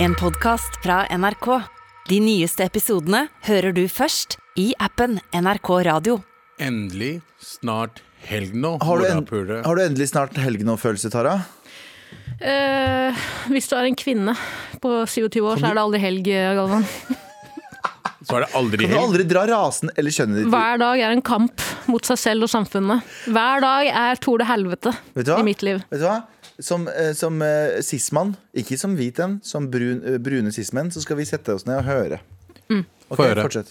En podcast fra NRK. De nyeste episodene hører du først i appen NRK Radio. Endelig snart helg nå, Har du, en, morapulere. har du endelig snart helg nå, følelse, Tara? Eh, hvis du er en kvinne på 27 år, så er det aldri helg, Galvan. Så er det aldri Du kan helg. aldri dra rasen eller kjønnet ditt. Hver dag er en kamp mot seg selv og samfunnet. Hver dag er Tor det helvete Vet du hva? i mitt liv. Vet du hva? Som, eh, som eh, cis-mann, ikke som hvit en, som brun, eh, brune cis-menn, så skal vi sette oss ned og høre. Mm. Ok, Få høre. fortsett.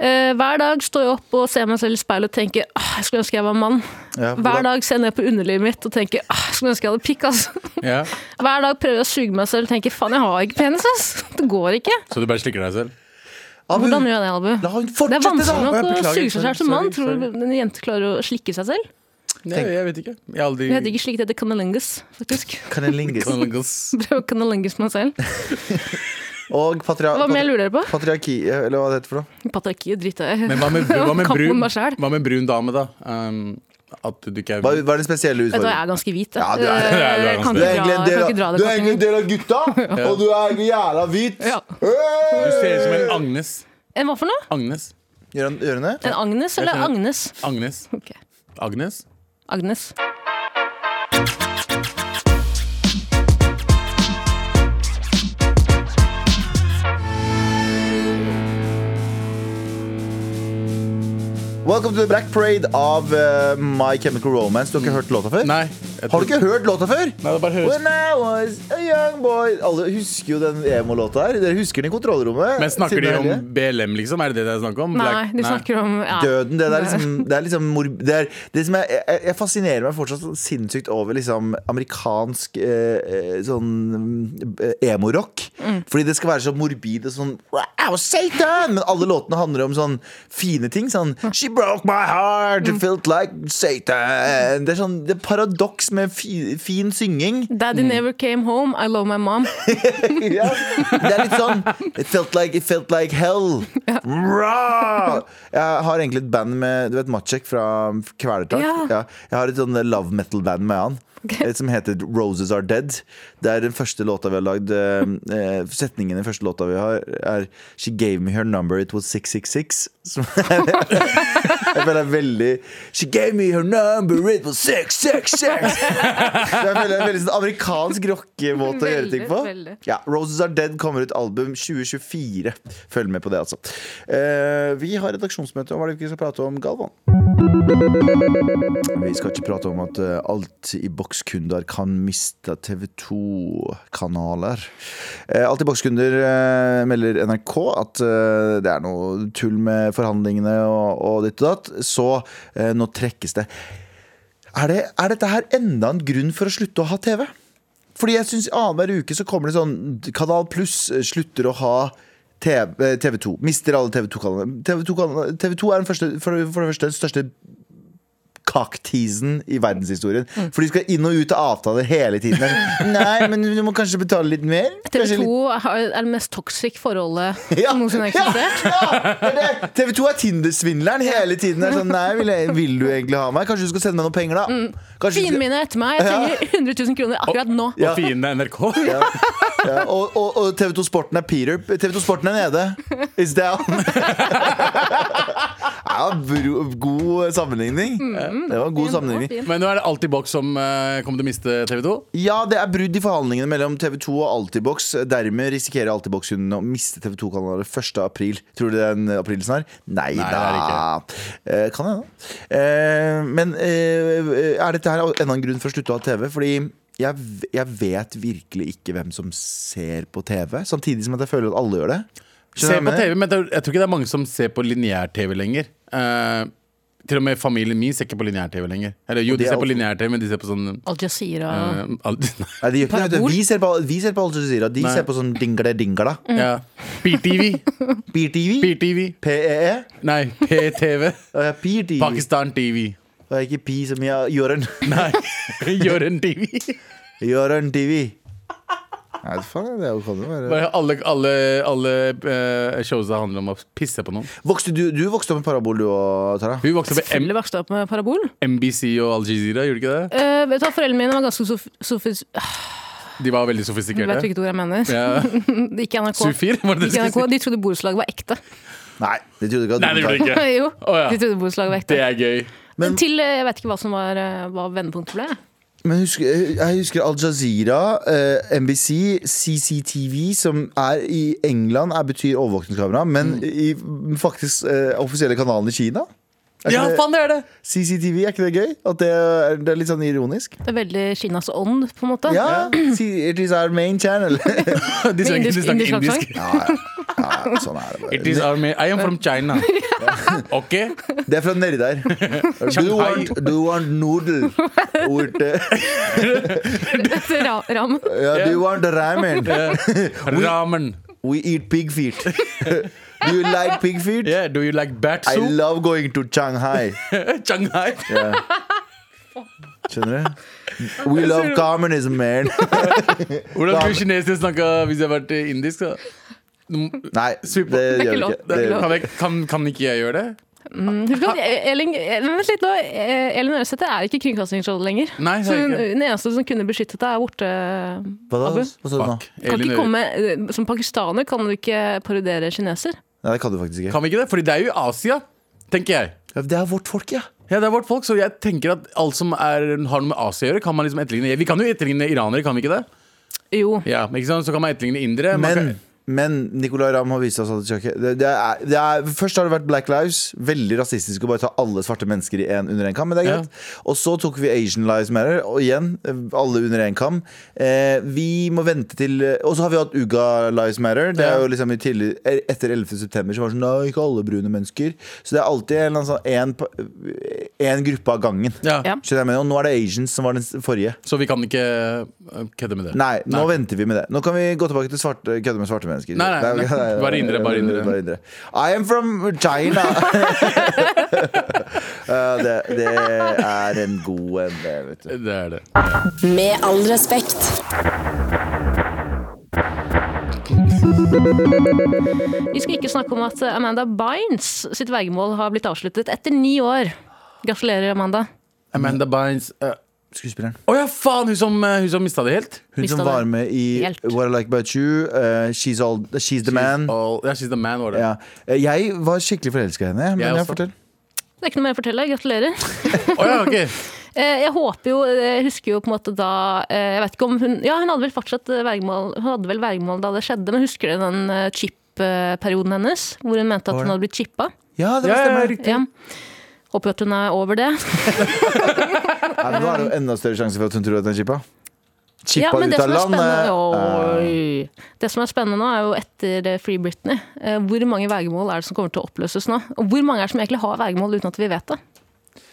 Eh, hver dag står jeg opp og ser meg selv i speilet og tenker «Åh, jeg skulle ønske jeg var mann. Ja, Hver hvordan- dag ser jeg ned på underlivet mitt og tenker «Åh, jeg skulle ønske jeg hadde pikk. ass». Ja. Hver dag prøver jeg å suge meg selv og tenker faen, jeg har ikke penis. ass. Det går ikke. Så du bare slikker deg selv? Ja, men- Hvordan gjør jeg det, Albu? La hun Det er fortsette, da! vanskelig Jeg nok å beklager, suge seg sorry, selv som mann. sorry, Tror du en jente klarer å slikke seg selv? Nei, jeg vet ikke. Jeg har aldri Det heter ikke sånn- slik, det heter cunnilingus, faktisk. sorry. Cunnilingus. Sånn Kanalgas. Prøv å cunnilingus meg selv. Og patria Hva mer patri lurer dere på? patriarki, eh, eller hva det heter for noe. Patriarkiet, dritt jeg. Men hva med, bru- hva, med Kamp mot brun, meg selv. hva med brun dame, da? Um, at du ikke er Hva, hva er den spesielle Vet du hva, jeg utfordringen? er ganske hvit. jeg. Ja, du er- Eh, du er ganske jeg kan Du ikke er egentlig dra- en jeg del kan av, ikke dra du det er egentlig en kortet. del av gutta, og du er jævla hvit! Ja. Hey! Du ser ut som en Agnes. En hva for noe? Agnes. Gjør han gjør han det? En Agnes eller skjønner. Agnes? Agnes. Ok, Agnes? Agnes. Welcome to the Black Parade av eh, My Chemical Romance. Du har ikke hørt låta før? Nei. jeg Har du tror- ikke hørt låta før? Nei, det bare høres When I was a young boy Alle husker jo den emo-låta her. Dere husker den i kontrollrommet. Men snakker siden de det er helge. om BLM, liksom? Er det det det er snakk om? Nei, Black- de snakker om ja. Døden, det der liksom, det er liksom mor- det, er, det som er, jeg, jeg fascinerer meg fortsatt sånn sinnssykt over liksom amerikansk eh, eh, sånn eh, emo-rock. Fordi det skal være så morbid og sånn Wow, Satan! Men alle låtene handler om sånn fine ting. Sånn She broke my heart, it felt like Satan. Det er sånn det er paradoks med fi, fin synging. Daddy never came home, I love my mom. Ja. Det er litt sånn It felt like, it felt like hell. Rah! Jeg har egentlig et band med Du vet Matsjek fra Kvelertak? Ja. Jeg har et sånn love metal-band med han. eh, Som heter Roses Are Dead. Det er den første låta vi har lagd. eh, eh, Setningen i den første låta vi har, er She gave me her number, it was 666. Som er, jeg føler er veldig She gave me her number, it was 666. Så jeg føler det er en veldig sånn amerikansk rockemåte å gjøre ting på. Veldig, veldig. Ja, Roses Are Dead kommer ut album 2024. Følg med på det, altså. Eh, vi har redaksjonsmøte, og hva er det vi skal prate om, Galvan? Vi skal ikke prate om at eh, alt i bokskunder kan miste TV 2-kanaler. Eh, alt i bokskunder eh, melder NRK at eh, det er noe tull med forhandlingene og, og ditt og datt. Så eh, nå trekkes det. Er, det. er dette her enda en grunn for å slutte å ha TV? Fordi jeg syns annenhver uke så kommer det sånn Kanal Pluss slutter å ha TV, eh, TV 2. Mister alle TV 2-kanalene. TV 2, -kanalene- TV 2 er den første, for, for det første den største kakteasen i verdenshistorien. Mm. For de skal inn og ut av avtaler hele tiden. Nei, men du må kanskje betale litt mer? Kanskje TV2 litt- har- er det mest toxic forholdet Ja, som noensinne har eksistert. ja, det er det. TV 2 er Tinder-svindleren hele tiden. Er sånn, nei, vil, jeg, vil du egentlig ha meg? Kanskje du skal sende meg noen penger, da? Mm. Kanskje du Fienden skal- min er etter meg, jeg trenger 100 000 kroner akkurat nå. Og fienden er NRK? Ja, og, og, og TV2 Sporten er Peter TV2 Sporten er nede It's down ja, bro, God sammenligning Mm, Det var en god sammenligning Men nå er det alltid Box som eh, kommer til å miste TV 2. Ja, det er brudd i forhandlingene mellom TV2 og Altibox Dermed risikerer Altibox-hundene å miste TV2-kanalen 1. april Tror du det er en april snart? Nei, Nei, det da eh, Kan jeg da eh, Men eh, er dette her enda en grunn for å slutte å ha TV? Fordi jeg, v- jeg vet virkelig ikke hvem som ser på TV Samtidig som at jeg føler at alle gjør det Se Skjønner du på hva jeg TV, men det, er- jeg tror ikke det er mange som ser på lineær-TV lenger. Eh, til og med familien min ser ikke på lineær-TV lenger. Eller jo, det de ser er på alt- mener? lineær-TV, men de ser på sånn Al Jazeera eh, alt- Nei, det gjør ikke det. vet Parabol? du. Vi ser på, vi ser på Al Jazeera. De Nei. ser på sånn dingle-dingla. Mm. ja. PTV. PTV. PTV. PEE. Nei, PTV. Uh, PTV. Pakistan TV. Det er ikke P som jeg Jørn. Nei, Jørgen TV. Jørn TV. Nei, faen, det er jo- kan jo være Bare Alle, alle, alle eh, showsa handler om å pisse på noen. Vokste du, du vokste opp med parabol, du òg, Tara? Hun vokste opp med M Selvfølgelig vokste jeg opp med parabol. MBC og Al Jazeera, gjorde du ikke det? Eh, vet du hva, Foreldrene mine var ganske sof sof De var veldig Du vet sofistikerte. hvilket ord jeg mener. Ja. Det er Ikke NRK. Sufir, var det det du skulle Ikke NRK. si? De trodde borettslaget var ekte. Nei, det trodde jeg ikke. at Nei, det gjorde du de ikke. jo, Å, ja. de trodde borettslaget var ekte. Det er gøy. Men- Til eh, jeg vet ikke hva som var, eh, hva vendepunktet ble. Men husker, jeg husker Al Jazeera, eh, NBC, CCTV, som er i England er, betyr overvåkningskamera, men i faktisk eh, offisielle kanalen i Kina. Er Ja, ikke det, faen, det er det! CCTV, er ikke det gøy? At det, er, det er litt sånn ironisk? Det er veldig Kinas ånd, på en måte. Ja! C- It is our main channel. ja, De snakker, de indisk- snakker indisk indisk. aksent? ja, ja, sånn er det It is bare. our ma- I am from China. Ok? Det er fra nedi der. Do you want, do you want noodle? With, eh, Dette ra ram. ja, do you want ramen? Ramen. We eat pig feet. do you like pig feet? Yeah, do you like bat I soup? love going to Shanghai. Shanghai. Skjønner du? We love communism, man. Hvordan skulle kinesere snakke hvis jeg hadde vært indisk? da? Nei, det Super. gjør vi lov. ikke. Det er ikke Det, lov. Kan, jeg, kan, kan ikke jeg gjøre det? Husk at E- Elin, Elin, vent litt nå. Eh, Elin Øresæter er ikke i Kringkastingsrådet lenger. Nei, det så er hun, ikke. den eneste som kunne beskyttet deg, er borte. hva da? Abu? Hva sa du nå? Fuck. Kan Elin ikke Øy- komme, eh, som pakistaner kan du ikke parodiere kineser. Nei, det kan du faktisk ikke. Kan vi ikke det? Fordi det er jo i Asia, tenker jeg. Ja, Det er vårt folk, ja. Ja, det er vårt folk, så jeg tenker at alt som er, har noe med Asia å gjøre, kan man liksom etterligne. Vi kan jo etterligne iranere, kan vi ikke det? Jo. Ja, ikke sant? Så kan man etterligne indere. man Men, kan- men Nicolay Ramm har vist oss at det ikke det, det er, det er, Først har det vært Black Lives. Veldig rasistisk å bare ta alle svarte mennesker i en, under én kam. Men det er greit. Og så tok vi Asian Lives Matter. Og igjen, alle under én kam. Eh, vi må vente til Og så har vi hatt Uga Lives Matter. Det er jo liksom i tidlig, Etter 11. september så var det sånn Nei, ikke alle brune mennesker. Så det er alltid en, eller annen sånn, en, en gruppe av gangen. ja. Ja. Skjønner du hva jeg mener? Og nå er det Asians som var den s- forrige. Så vi kan ikke øh, kødde med det. Nei, nå venter vi med det. Nå kan vi gå tilbake til svarte, kødde med svarte mennesker. Nei, nei, nei. Bare indre, bare indre. I am from China! Ja, det, det er en god en, det, vet du. Det er det. Med all respekt. Vi skal ikke snakke om at Amanda Bynes sitt vergemål har blitt avsluttet etter ni år. Gratulerer, Amanda. Amanda Bynes øh, Skuespilleren. Å ja, faen! Hun som, øh, hun som mista det helt? Hun Visste som det. var med i Helt. What I Like About You, eh, she's, all, she's the Man. All, yeah, she's the man, var det. Ja. Eh, Jeg var skikkelig forelska i henne. Men Jeg jeg også. fortell. Det er ikke noe mer å fortelle. Gratulerer. Å ja, ok. Eh, Jeg håper jo, jeg husker jo på en måte da eh, Jeg vet ikke om hun Ja, hun hadde vel fortsatt eh, vergemål, hun hadde vel vergemål da det skjedde, men husker du den eh, chip-perioden hennes? Hvor hun mente at Var hun det? hadde blitt chippa? Ja, det Ja, ja, stemmer. riktig. Ja. Håper jo at hun er over det. Ja, men nå er det jo enda større sjanse for at hun tror at den chippa. Ja, Chippa men ut det av som er spennende landet! Eh, Oi. Det som er spennende nå, er jo etter eh, Free Britney. eh, Hvor mange vergemål er det som kommer til å oppløses nå? Og hvor mange er det som egentlig har vergemål uten at vi vet det?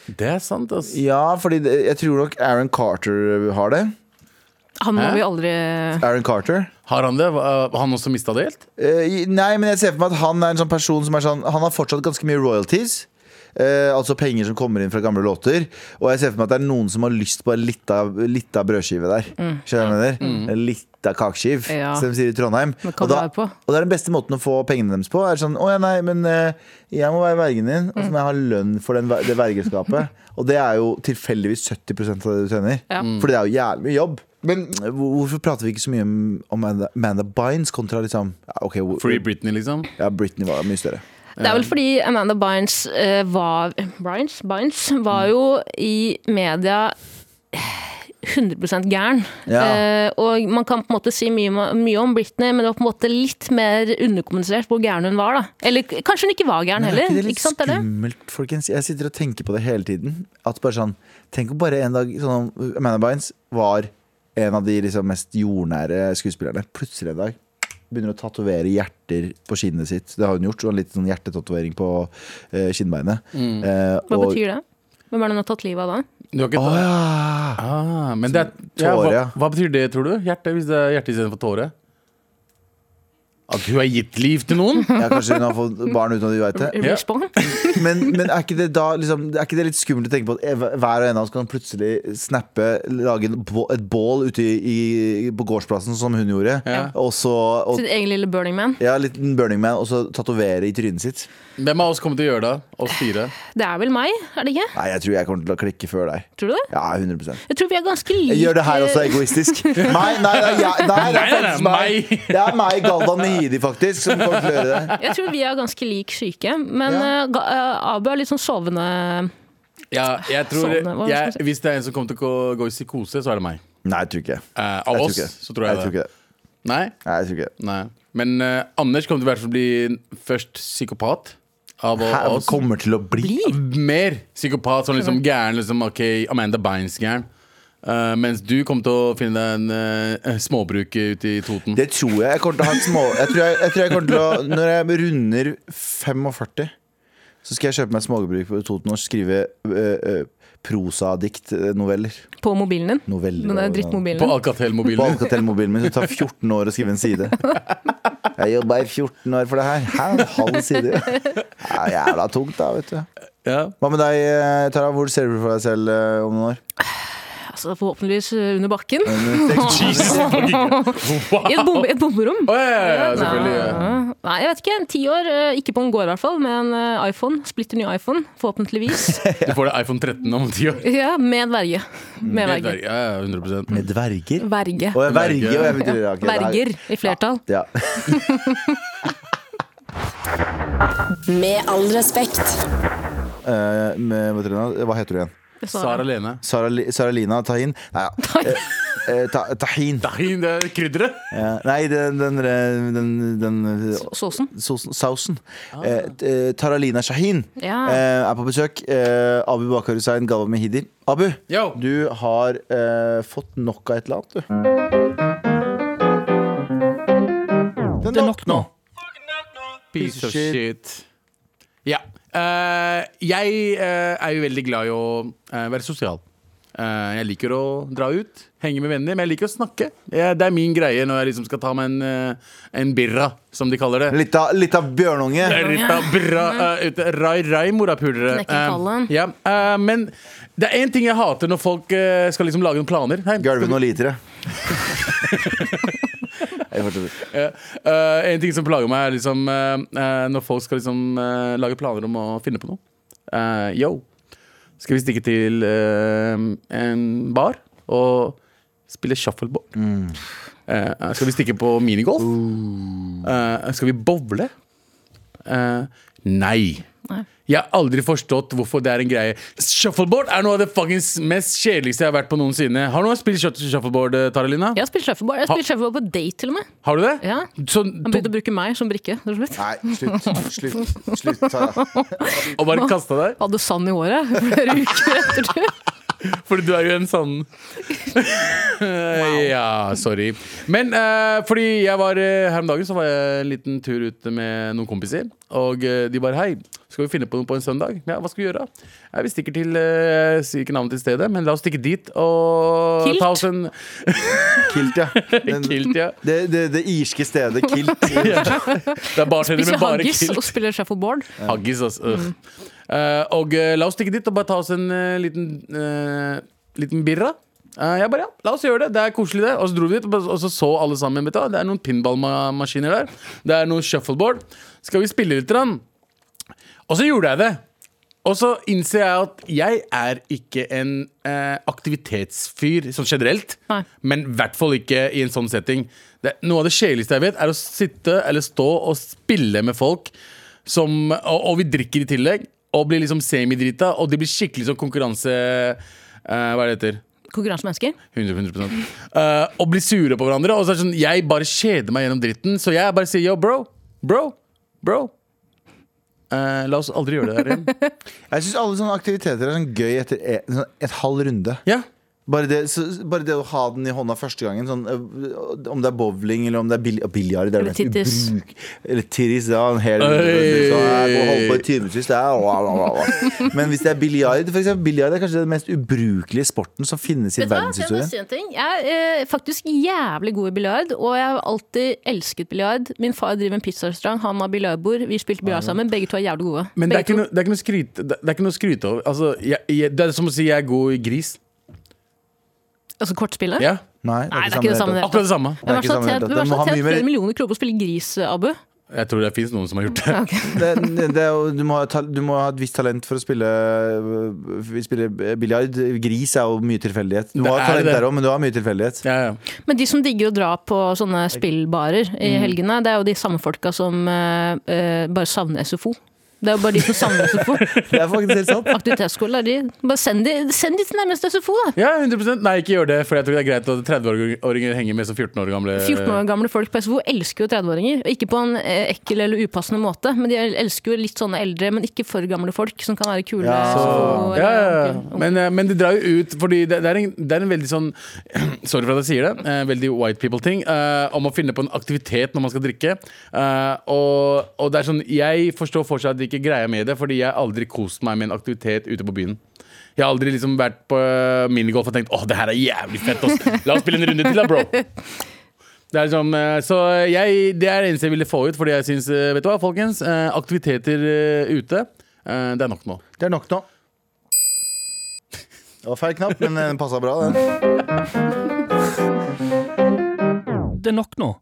Det er sant, ass. Ja, fordi det, jeg tror nok Aaron Carter har det. Han må Hæ? vi aldri Aaron Carter. Har han det? Hva- Har han også mista det helt? Eh, nei, men jeg ser for meg at han er en sånn person som er sånn Han har fortsatt ganske mye royalties. eh, altså penger som kommer inn fra gamle låter. Og jeg ser for meg at det er noen som har lyst på litt av, litt av brødskive der. Skjønner du hva jeg mener? Litt av kakeskiv, Mm. Ja. som de sier i Trondheim. Men kan Og, da, være på. og det er den beste måten å få pengene deres på. Er sånn, å ja, nei, men eh, jeg må være vergen din, Mm. og så må jeg ha lønn for den, ver- det vergeskapet. og det er jo tilfeldigvis 70 av det du tjener. Ja. Mm. Fordi det er jo jævlig mye jobb. Men hvor- hvorfor prater vi ikke så mye om om Amanda, Amanda Bynes kontra liksom ja, ok, hvor- Free Britney, liksom? ja, Britney var mye større. Det er Eh. vel fordi Amanda Bynes eh, var Bynes? Bynes Mm. var jo i media 100 gæren. Ja. Eh, og man kan på en måte si mye, om- mye om Britney, men det var på en måte litt mer underkommunisert hvor gæren hun var. da. Eller k- kanskje hun ikke var gæren heller. er ikke det litt ikke sant, det er det? skummelt, folkens? Jeg sitter og tenker på det hele tiden. At bare sånn, Tenk om bare en dag sånn, om Amanda Bynes var en av de liksom, mest jordnære skuespillerne. Plutselig en dag begynner å tatovere hjerter på kinnet sitt. Det har hun gjort. Hun har litt sånn hjertetatovering på eh, kinnbeinet. Eh, Mm. Hva og- betyr det? Hvem er det hun har tatt livet av da? Du har ikke Å ja! ah, men det er, ja, Tåre, hva, ja. hva betyr det, tror du? Hjerte, hvis det er hjerte istedenfor tåre? At hun har gitt liv til noen? Ja, kanskje hun har fått barn uten at vi veit det. Ja. Respawn. Men, men er, ikke det da, liksom, er ikke det litt skummelt å tenke på at ev- hver og en av oss kan plutselig snappe, lage en bå- et bål ute i, i, på gårdsplassen, som hun gjorde, Ja. og så og, Sin egen lille Burning Man. ja, litt Burning Man, og så tatovere i trynet sitt? Hvem av oss kommer til å gjøre det? Oss fire? Det er vel meg, er det ikke? Nei, jeg tror jeg kommer til å klikke før deg. Tror du det? Ja, 100 Jeg tror vi er ganske like Jeg gjør det her også egoistisk. Nei, nei, nei, jeg- nei, det er Nei, nei, faktisk meg. meg. Det er meg, Galvan Mehidi, faktisk, som kommer til å gjøre det. Jeg tror vi er ganske lik syke, men Ja. eh, Ga- eh, Abu er litt sånn sovende. Ja, jeg tror Sånn, hva skal jeg jeg, Hvis det er en som kommer til å gå- gå i psykose, så er det meg. Nei, jeg tror ikke det. Eh, av Jeg tror oss, ikke det. så tror jeg, jeg tror det. ikke det. Nei? Nei, jeg tror ikke det. Nei. Men eh, Anders kommer til å i hvert fall bli først psykopat. Av Hæ, oss. kommer til å bli? Mer psykopat, sånn liksom gæren. Liksom, ok, Amanda Bynes-gæren. Eh, mens du kommer til å finne deg en eh, småbruker ute i Toten. Det tror jeg. Jeg kommer til å ha et små jeg tror jeg, jeg tror jeg kommer til å Når jeg runder 45, så skal jeg kjøpe meg et småbruk på Toten og skrive øh, øh, prosadikt, øh, noveller. På mobilen din. Noveller Den der og- drittmobilen. På På din. Alcatel-mobilen. Alcatel-mobilen min. Det tar 14 år å skrive en side. Jeg jobba i 14 år for det her. Hæ, en halv side? Det er jævla tungt, da, vet du. Ja. Hva med deg, eh, Tara? Hvor ser du for deg selv eh, om noen år? Altså, forhåpentligvis eh, under bakken. Jesus fucking- Wow! I et, bom, et bomberom. Å, ja, ja, ja, selvfølgelig. ja. Nei, Nei, jeg vet ikke. Ti år. eh, Ikke på en gård, i hvert fall. Med en eh, iPhone. Splitter ny iPhone, forhåpentligvis. Du får det iPhone 13 om ti år. ja, med verge. Med Ja, verge. ja, 100 Med dverger? Verge. Å, jeg verger. og jeg betyr- ja, ok, det her- Verger i flertall. Ja. Med all respekt. Eh, med, hva heter hun da? hva heter du igjen? Det sa Sara jeg. Lene. Sara, Li- Sara Lina Tahin? Nei, ja. Eh, ta, tahin. Nei, det er krydderet! Ja. Nei, den, den, den, den, den Såsen. Sausen, sausen. Eh, t- eh, Taralina Shahin Ja. eh, er på besøk. Eh, Abu Bakar Hussein, Galva Mehidi. Abu, Yo. du har eh, fått nok av et eller annet, du. Det er nok nå. Piece of shit. Ja. Eh, jeg eh, er jo veldig glad i å eh, være sosial. Eh, jeg liker å dra ut, henge med venner, men jeg liker å snakke. Eh, det er min greie når jeg liksom skal ta meg en, eh, en birra, som de kaller det. Litt av, litt av bjørnunge. Rita bra eh, ute. Rai, rai, morapulere. Knekke kallen. Eh, ja, eh, men det er én ting jeg hater når folk eh, skal liksom lage noen planer. Hei, skal vi- Gulve noen litere. Jeg fortsetter. Ja. Eh, en ting som plager meg, er liksom eh, eh, når folk skal liksom eh, lage planer om å finne på noe. Eh, yo, skal vi stikke til eh, en bar og spille shuffleboard? Eh, skal vi stikke på minigolf? Eh, skal vi bowle? Eh, nei. Nei. Jeg har aldri forstått hvorfor det er en greie. Shuffleboard er noe av det fuckings mest kjedeligste jeg har vært på noensinne. Har noen spilt shuff- shuffleboard, eh, Taralina? Jeg har spilt shuffleboard. Jeg har spilt shuffleboard på date, til og med. Har du det? Ja. Så, Han begynte å bruke meg som brikke. til slutt. Nei, slutt. Slutt, slutt Tara. og bare kasta deg? Hadde sand i håret flere uker etter det. Fordi du er jo en sånn Ja, sorry. Men eh, fordi jeg var eh, her om dagen, så var jeg en liten tur ute med noen kompiser. Og eh, de bare Hei, skal vi finne på noe på en søndag? Ja, hva skal vi gjøre? Ja, vi stikker til eh, Jeg sier ikke navnet til stedet, men la oss stikke dit og Kilt? ta oss en Kilt, ja. Den, Kilt, ja. Det, det, det irske stedet Kilt. Det er bartender Spiser med bare haggis kilt. og spiller shuffleboard. Haggis, altså. Øh. Eh, og eh, la oss stikke dit og bare ta oss en eh, liten, eh, liten birra. Eh, jeg bare, ja, La oss gjøre det. Det er koselig, det. Og så dro vi dit, og bare- og så så alle sammen. Vet du, hva, det er noen pinballmaskiner der. Det er noen shuffleboard. Skal vi spille litt? Rann? Og så gjorde jeg det. Og så innser jeg at jeg er ikke en eh, aktivitetsfyr sånn generelt. Nei. Men i hvert fall ikke i en sånn setting. Det, noe av det kjedeligste jeg vet, er å sitte eller stå og spille med folk som, og, og vi drikker i tillegg Og blir liksom semidrita Og det blir skikkelig sånn konkurranse eh, Hva er det det heter? Konkurransemennesker. 100, 100%. Eh, Og blir sure på hverandre Og så er det sånn, jeg bare kjeder meg gjennom dritten Så jeg bare sier, yo bro, bro, bro Eh, La oss aldri gjøre det der igjen Jeg syns alle sånne aktiviteter er sånn gøy etter en, sånn et e, halv runde. Ja Bare det, så, bare det å ha den i hånda første gangen, sånn, øh, om det er bowling eller om det er bil- øh, biljard det er Eller det mest tittis. ubruk- Eller tittis. Ja, en hel Øy. så jeg går og holder på i timevis. det er wa, wa, wa, wa. Men hvis det er biljard for eksempel, Biljard er kanskje den mest ubrukelige sporten som finnes i Vet du hva, kan jeg bare verdenshistorien. si en ting? Jeg er eh, faktisk jævlig god i biljard, og jeg har alltid elsket biljard. Min far driver en pizzarestaurant, han har biljardbord. Vi spilte biljard sammen, begge to er jævlig gode. Men det er, begge ikke noe, det, er ikke noe skryt, det det er ikke noe å skryte over. Altså, jeg, jeg, det er som å si jeg er god i gris. to, altså kortspillet? Ja, Nei, det Nei, det er ikke det samme. i hele Akkurat det samme. Hvem Det er er ikke det som samme i har det hele tatt. Den tjent må ha mye 3 mer- millioner kroner på å spille gris, Abu? Jeg tror det fins noen som har gjort det. tatt. Det- det er jo- Du må ha ta- du må ha et visst talent for å spille, øh, spille biljard. Gris er jo mye tilfeldighet. Du Det har er talent det. der òg, men du har mye tilfeldighet. Ja, ja. Men de som digger å dra på sånne Mm. spillbarer i helgene, det er jo de samme folka som eh, eh, bare savner SFO. Det er jo bare de som savner SFO. Det er faktisk helt sant. Aktivitetsskole er de. Bare send de, send de til nærmeste SFO, da. Ja, 100 Nei, ikke gjør det, for jeg tror det er greit at 30-åringer henger med som 14 år gamle. 14 år gamle folk på SFO elsker jo 30-åringer. og Ikke på en eh, ekkel eller upassende måte, men de elsker jo litt sånne eldre, men ikke for gamle folk, som kan være kule. Ja. Så, SFO, eller ja, ja. onkel- onkel. Men, eh, men de drar jo ut, fordi det, det, er en, det er en veldig sånn Sorry for at jeg sier det. eh, veldig white people-ting. eh, om å finne på en aktivitet når man skal drikke. Eh, og, og det er sånn Jeg forstår fortsatt at de ikke greier med det, fordi jeg har aldri kost meg med en aktivitet ute på byen. Jeg har aldri liksom vært på eh, minigolf og tenkt åh, det her er jævlig fett. Ass. La oss spille en runde til, da, bro. Det er sånn, eh, så jeg, det er det eneste jeg ville få ut, fordi jeg syns Vet du hva, folkens? eh, Aktiviteter eh, ute, eh, det er nok nå. Det er nok nå. Det var feil knapp, men den passa bra. Den. Det er nok nå.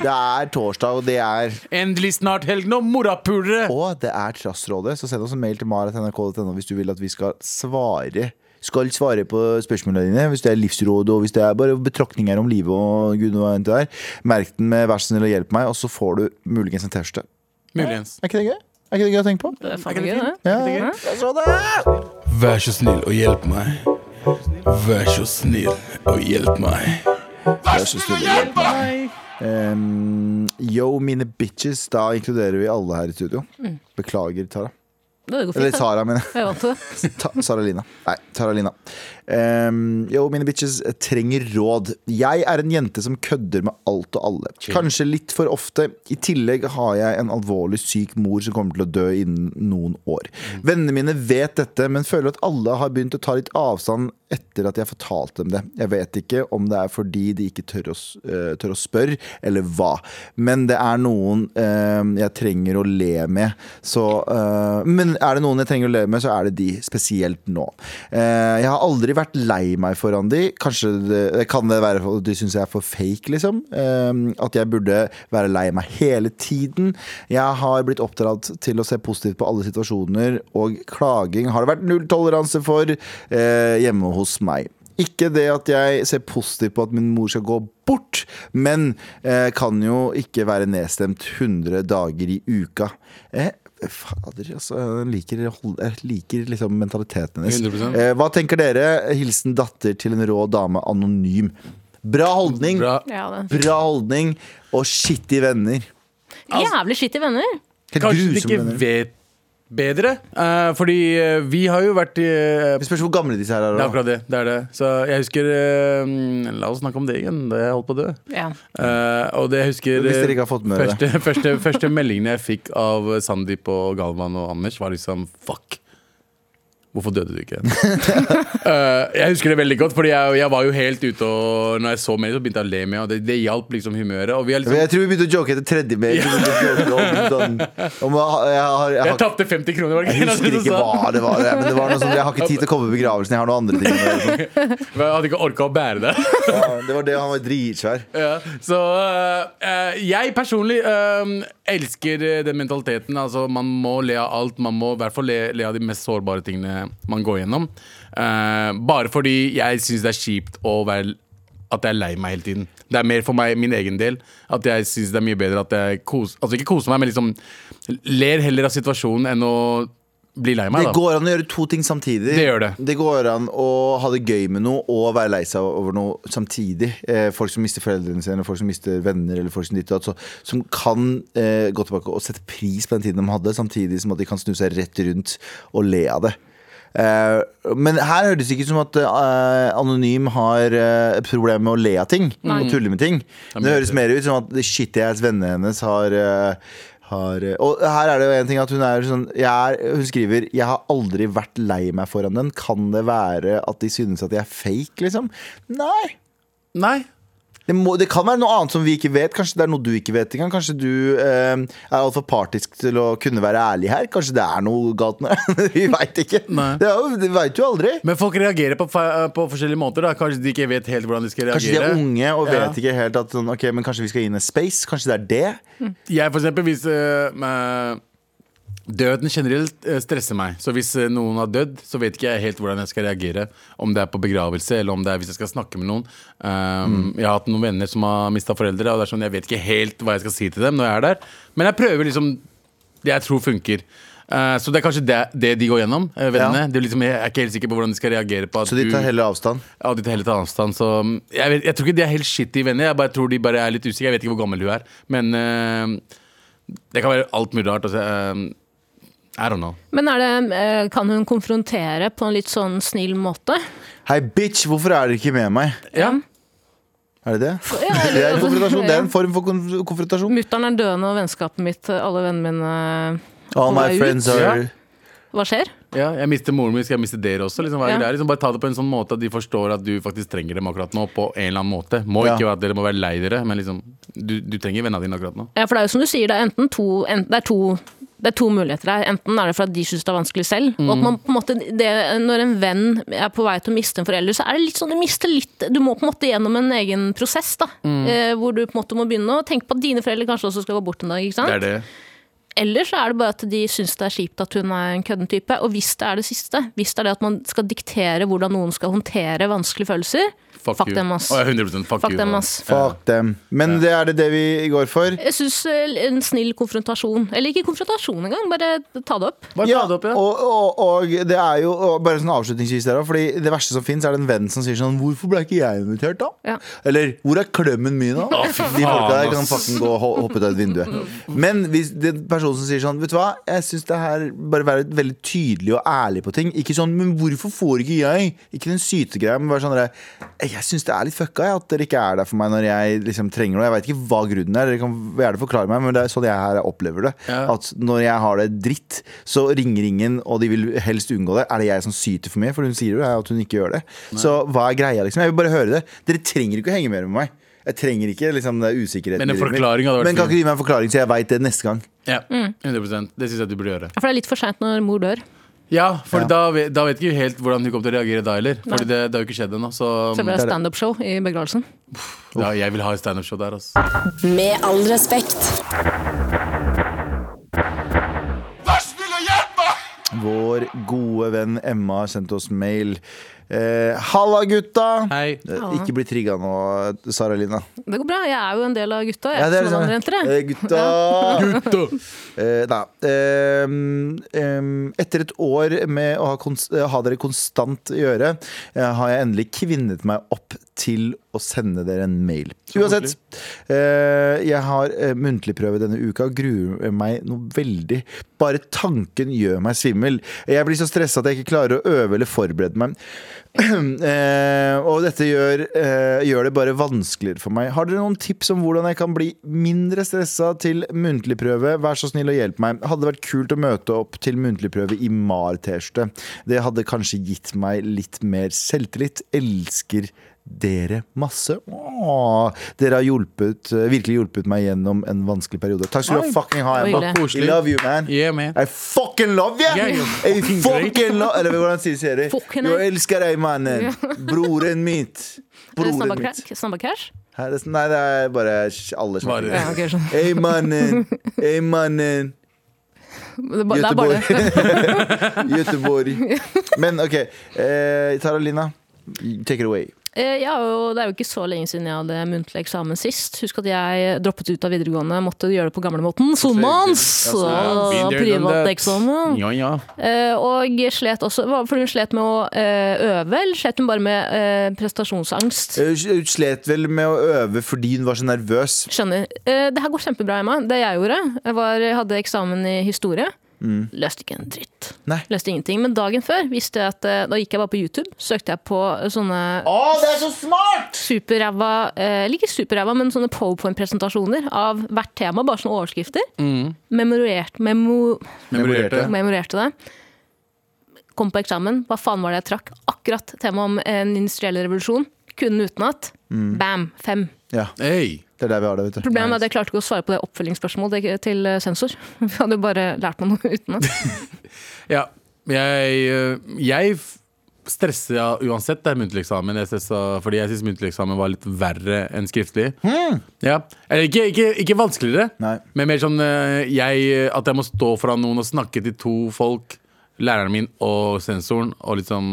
Det er torsdag, og det er Endelig snart helg nå, morapulere! Og det er Trassrådet. Så send oss en mail til maratnrk.no hvis du vil at vi skal svare. Skal svare på spørsmålene dine hvis det er livsråd og hvis det er bare betraktninger om livet. og gud og annet der Merk den med 'vær så snill å hjelpe meg', og så får du muligens en T-skjorte. Muligens. Er ikke det gøy? Er ikke det gøy å tenke på? Det er faen gøy, det. Ja, Trassrådet! Vær så snill og hjelp meg. Vær så snill og hjelp meg. Em, yo, mine bitches. Da inkluderer vi alle her i studio. Beklager, Tara. Det går Eller fint. da. Tara, mener jeg. Jeg er vant til det. Ta Sara Lina. Nei, Tara Lina. Ehm, yo, mine bitches trenger råd. Jeg er en jente som kødder med alt og alle. Kanskje litt for ofte. I tillegg har jeg en alvorlig syk mor som kommer til å dø innen noen år. Vennene mine vet dette, men føler at alle har begynt å ta litt avstand etter at jeg fortalte dem det. Jeg vet ikke om det er fordi de ikke tør å, s- eh, tør å spørre, eller hva. Men det er noen eh, jeg trenger å le med. Så, eh, men er det noen jeg trenger å le med, så er det de. Spesielt nå. Eh, jeg har aldri vært lei meg foran de. Kanskje det, kan det være at de syns jeg er for fake, liksom. Eh, at jeg burde være lei meg hele tiden. Jeg har blitt oppdratt til å se positivt på alle situasjoner, og klaging har det vært nulltoleranse for eh, hjemme hos meg. Ikke det at jeg ser positivt på at min mor skal gå bort, men eh, kan jo ikke være nedstemt 100 dager i uka. Eh, fader, altså. Jeg liker, hold- jeg liker liksom mentaliteten hennes. 100%. Eh, hva tenker dere? Hilsen datter til en rå dame, anonym. Bra holdning! Bra. Ja, det. Bra holdning og skittige venner. Jævlig skittige venner. Helt Kanskje de grusomme ikke venner. vet bedre, eh, fordi eh, vi har jo vært i eh, Det spørs hvor gamle disse her er. det er da. akkurat det. det, er det. Så jeg husker eh, mm, La oss snakke om det igjen. Da jeg holdt på å dø. Ja. Eh, og det jeg husker Hvis dere ikke har fått med dere første, første, første meldingen jeg fikk av Sandeep og Galvan og Anders, var liksom fuck. Hvorfor døde du ikke? Eh, jeg husker det veldig godt, Fordi jeg, jeg var jo helt ute og Når jeg så mer, så begynte jeg å le med, og det, det hjalp liksom humøret. Og vi er liksom, Jeg tror vi begynte å joke etter tredje mail. Vi begynte å joke Om, sånn, om, jeg har, jeg har, jeg liksom, jeg har tapte 50 kroner, var det Jeg ikke husker det du ikke sa? hva det var, men det var noe sånn, jeg har ikke tid til å komme i begravelsen. Jeg har noen andre ting. å gjøre. Men Jeg hadde ikke orka å bære det. Ja, det var det han var dritsvær. Ja, så øh, øh, jeg personlig øh, elsker øh, den mentaliteten. Altså, man må le av alt. Man må i hvert fall le, le av de mest sårbare tingene man går gjennom. Eh, bare fordi jeg syns det er kjipt å være at jeg er lei meg hele tiden. Det er mer for meg min egen del. At jeg syns det er mye bedre at jeg koser Altså ikke koser meg, men liksom ler heller av situasjonen enn å bli lei meg. Det da går an å gjøre to ting samtidig. Det gjør det. Det går an å ha det gøy med noe og være lei seg over noe samtidig. Eh, folk som mister foreldrene sine, folk som mister venner, eller folk som ditt og datt, så- som kan eh, gå tilbake og sette pris på den tiden de hadde, samtidig som at de kan snu seg rett rundt og le av det. Eh, men her høres det ikke ut som at eh, Anonym har eh, et problem med å le av ting. Og tulle med ting. Det høres mer ut som at shit, jeg er vennene hennes har eh, har, eh, og her er det jo en ting at hun er sånn jeg er, Hun skriver Jeg har aldri vært lei meg foran den. Kan det være at de synes at jeg er fake, liksom? Nei. Nei. Det, må, det kan være noe annet som vi ikke vet. Kanskje det er noe du ikke vet engang. Kanskje du eh, er altfor partisk til å kunne være ærlig her. Kanskje det er noe galt med deg. vi veit ikke. Nei. Det, er jo- det veit du aldri. Men folk reagerer på, fe- på forskjellige måter. da Kanskje de ikke vet helt hvordan de skal Kanskje de reagere. er unge og Ja. vet ikke helt at sånn, Ok, men kanskje vi skal inn i space. Kanskje det er det. Jeg for eksempel, hvis øh, øh, Døden generelt øh, stresser meg. Så hvis øh, noen har dødd, så vet ikke jeg helt hvordan jeg skal reagere. Om det er på begravelse, eller om det er hvis jeg skal snakke med noen. Um, Mm. Jeg har hatt noen venner som har mista foreldre, og det er sånn, jeg vet ikke helt hva jeg skal si til dem når jeg er der. Men jeg prøver liksom det jeg tror funker. Eh, så det er kanskje det, det de går gjennom, eh, vennene. Ja. Det er liksom, jeg er ikke helt sikker på hvordan de skal reagere på at Så de tar du heller avstand. Ja, de tar heller tar avstand. Så mm, jeg, vet, jeg tror ikke de er helt shitty venner. Jeg bare tror de bare er litt usikre. Jeg vet ikke hvor gammel hun er. Men eh, det kan være alt mulig rart. Altså, eh, I don't know. Men er det, eh, kan hun konfrontere på en litt sånn snill måte? Hei, bitch, hvorfor er dere ikke med meg? Ja. Er det det? Ja, Det Altså, er en konfrontasjon. Det er ja. en form for konf- konfrontasjon. Altså, Mutter'n er døende, og vennskapet mitt, alle vennene mine All my Kommer ut. friends are Ja. Hva skjer? ja, Jeg mister moren min, skal jeg miste dere også? Liksom, hva er Ja. greia? liksom, bare ta det på en sånn måte at de forstår at du faktisk trenger dem akkurat nå. På en eller annen måte Må Ja. ikke være at dere må være lei dere, men liksom, du, du trenger vennene dine akkurat nå. Ja, for det er jo som du sier, det er enten to, en, det er to det er to muligheter her. Enten er det for at de syns det er vanskelig selv. Mm. Og at man på en måte, det, Når en venn er på vei til å miste en forelder, så er det litt sånn du mister litt Du må på en måte gjennom en egen prosess, da. Mm. Eh, hvor du på en måte må begynne å tenke på at dine foreldre kanskje også skal gå bort en dag. ikke sant? Det er det. Eller så er det bare at de syns det er kjipt at hun er en kødden type. Og hvis det er det siste, hvis det er det at man skal diktere hvordan noen skal håndtere vanskelige følelser, Fuck, Fuck you. dem, ass. Å, ja, 100% fuck, Fuck you. dem, ass. Fuck dem. Men det er det det vi går for. jeg syns en snill konfrontasjon Eller ikke konfrontasjon engang, bare ta det opp. Bare ta Ja, det opp, ja. og, og, og det er jo og bare sånn avslutningsvis der også, Fordi det verste som finnes er det en venn som sier sånn Hvorfor ble ikke jeg invitert da? Ja. Eller hvor er klemmen min da? Å, fy De folka faen, der kan ass. fucking gå og ho- hoppe ut av et vindu Men hvis det er personen som sier sånn Vet du hva, jeg synes det her Bare være veldig tydelig og ærlig på ting Ikke sånn, men hvorfor får ikke jeg? Ikke den sytegreia, men bare sånn der, Jeg synes det er litt fucka jeg, at dere ikke er der for meg Når jeg liksom trenger noe Jeg vet ikke hva grunnen er Dere kan gjerne forklare meg, men det er sånn jeg her opplever det Ja. At når jeg har det dritt Så ringer ingen, og de vil helst unngå det Er det jeg som syter for mye? For hun sier jo at hun ikke gjør det Så hva er greia liksom? Jeg vil bare høre det Dere trenger ikke å henge mer med meg jeg trenger ikke liksom, det usikkerheten Men en i livet mitt. forklaring hadde vært Men fin. kan ikke du gi meg en forklaring så jeg veit det neste gang? ja. Mm. 100 Det syns jeg du burde gjøre. For det er litt for seint når mor dør. Ja, for Ja. Da, vet- da vet ikke vi helt hvordan hun kommer til å reagere da heller. Fordi Nei. det, det har jo ikke skjedd ennå. Så Så det blir det er det. standup-show i begravelsen. ja, jeg vil ha et standup-show der. Altså. Med all respekt. Vår gode venn Emma har sendt oss mail. Eh, Halla, gutta! Hei. Eh, ikke bli trigga nå, Sara Lina. Det går bra, jeg er jo en del av gutta. Jeg Ja, er det er ikke som sånn. alle andre jenter, Eh, jeg. gutta! Eh, nei. Ehm, ehm, etter et år med å ha, kons eh, ha dere konstant i øret, eh, har jeg endelig kvinnet meg opp til å sende dere en mail. Uansett. eh, jeg har eh, muntlig prøve denne uka og gruer meg noe veldig. Bare tanken gjør meg svimmel. Jeg blir så stressa at jeg ikke klarer å øve eller forberede meg. Eh, og dette gjør, eh, gjør det bare vanskeligere for meg. Har dere noen tips om hvordan jeg kan bli mindre stressa til muntlig prøve? Vær så snill og hjelp meg. Hadde vært kult å møte opp til muntlig prøve i MAR-T-skjorte. Det hadde kanskje gitt meg litt mer selvtillit. Elsker dere masse. Åh, dere har hjulpet, eh, virkelig hjulpet meg gjennom en vanskelig periode. Takk skal du ha, fucking ha, Oi, Emma. det. Koselig. We love you, man. Yeah, man. I fucking love you! Yeah, you I fucking fucking love Eller hvordan sier sier de? Fucking Jeg I. elsker deg, mannen. Broren mitt. Er det Broren Eh, snabba mitt. cra- Snabba cash? Hæ, det er sn- Nei, det er bare sj- alle Bare- snakker. Ja, ok, skjønner. Hey, mannen. Hey, mannen. Det er ba- det er bare Göteborg. det. Göteborg. Men OK. Eh, Taralina, take it away. Eh, Jeg har jo, det er jo ikke så lenge siden jeg hadde muntlig eksamen sist. Husk at jeg droppet ut av videregående, måtte gjøre det på gamlemåten. Sommerens! Been Og there, done that. privateksamen. Ja, ja. Eh, og slet også, hva- for hun slet med å eh, øve, eller slet hun bare med eh, prestasjonsangst? Eh, Hun slet vel med å øve fordi hun var så nervøs. Skjønner. Eh, det her går kjempebra, Emma. Det jeg gjorde, jeg var, hadde eksamen i historie. Mm. Løste ikke en dritt. Nei. Løste ingenting. Men dagen før visste jeg at eh, Da gikk jeg bare på YouTube. Søkte jeg på sånne det er så smart! superræva eh, Eller ikke superræva, men sånne powerpoint-presentasjoner av hvert tema. Bare sånne overskrifter. Memorert, memo, Memorerte. memorerte det. Kom på eksamen. Hva faen var det jeg trakk? Akkurat temaet om en industriell revolusjon. Kunne utenat. Mm. Bam! Fem. Ja, Hey. det er der vi har det, vet du. Problemet er at jeg klarte ikke å svare på det oppfølgingsspørsmålet til- til eh, sensor. Vi hadde jo bare lært meg noe utenat. Ja, jeg, øh, jeg f- stresser ja, uansett det er muntlig eksamen, jeg stressa, fordi jeg syns muntlig eksamen var litt verre enn skriftlig. Ja. Eller ikke, ikke, ikke vanskeligere, Nei. men mer sånn øh, jeg, øh, at jeg må stå foran noen og snakke til to folk. Læreren min og sensoren, og liksom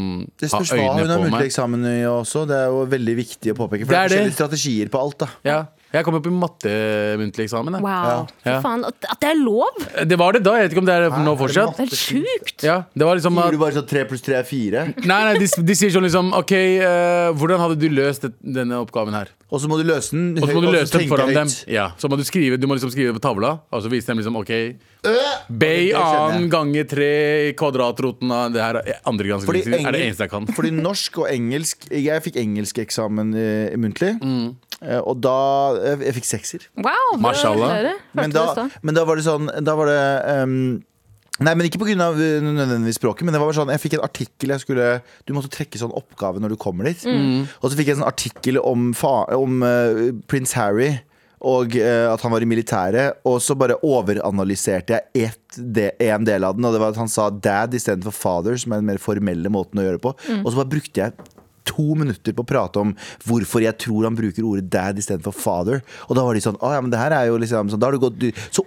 Det ha spørs hva hun øynene har på muntlig meg. eksamen i også. Det er jo veldig viktig å påpeke. For Det det er er det. forskjellige strategier på alt, da. Ja. Jeg kom opp i mattemuntlig eksamen. jeg. Wow. Fy Ja. faen, at, at det er lov! Det var det da, jeg vet ikke om det er nå det fortsatt. Det er sjukt! Ja, det var liksom Gjorde at du bare sånn tre pluss tre er fire? Nei, nei, de, de sier sånn liksom OK, eh, hvordan hadde du løst det, denne oppgaven her? Og så må du løse den. Og så må høyt, du og løse den tenke foran høyt. dem. Ja. Så må du skrive Du må liksom skrive på tavla, og så vise dem liksom OK Bay Øh! det skjønner jeg. annen ganger tre i kvadratroten av det her er andre gangs Fordi er det engel- eneste jeg kan. Fordi norsk og engelsk Jeg fikk engelskeksamen eh, muntlig. Mm. Eh, Og da Jeg, jeg fikk sekser. Wow! Mashallah. Men da, men da var det sånn Da var det ehm, Nei, men ikke pga. eh, nødvendigvis språket. Men det var bare sånn, jeg fikk en artikkel jeg skulle Du måtte trekke sånn oppgave når du kommer dit. Og så fikk jeg en sånn artikkel om, fa, om eh, prins Harry. Og eh, at han var i militæret. Og så bare overanalyserte jeg ett de, en del av den. Og det var at han sa dad istedenfor father, som er den mer formelle måten å gjøre det på. Og så bare brukte jeg to minutter på å prate om hvorfor jeg tror han bruker ordet dad istedenfor father. Og da var de sånn, «Å, ja, men det her er jo liksom sånn, da har du gått, du, Så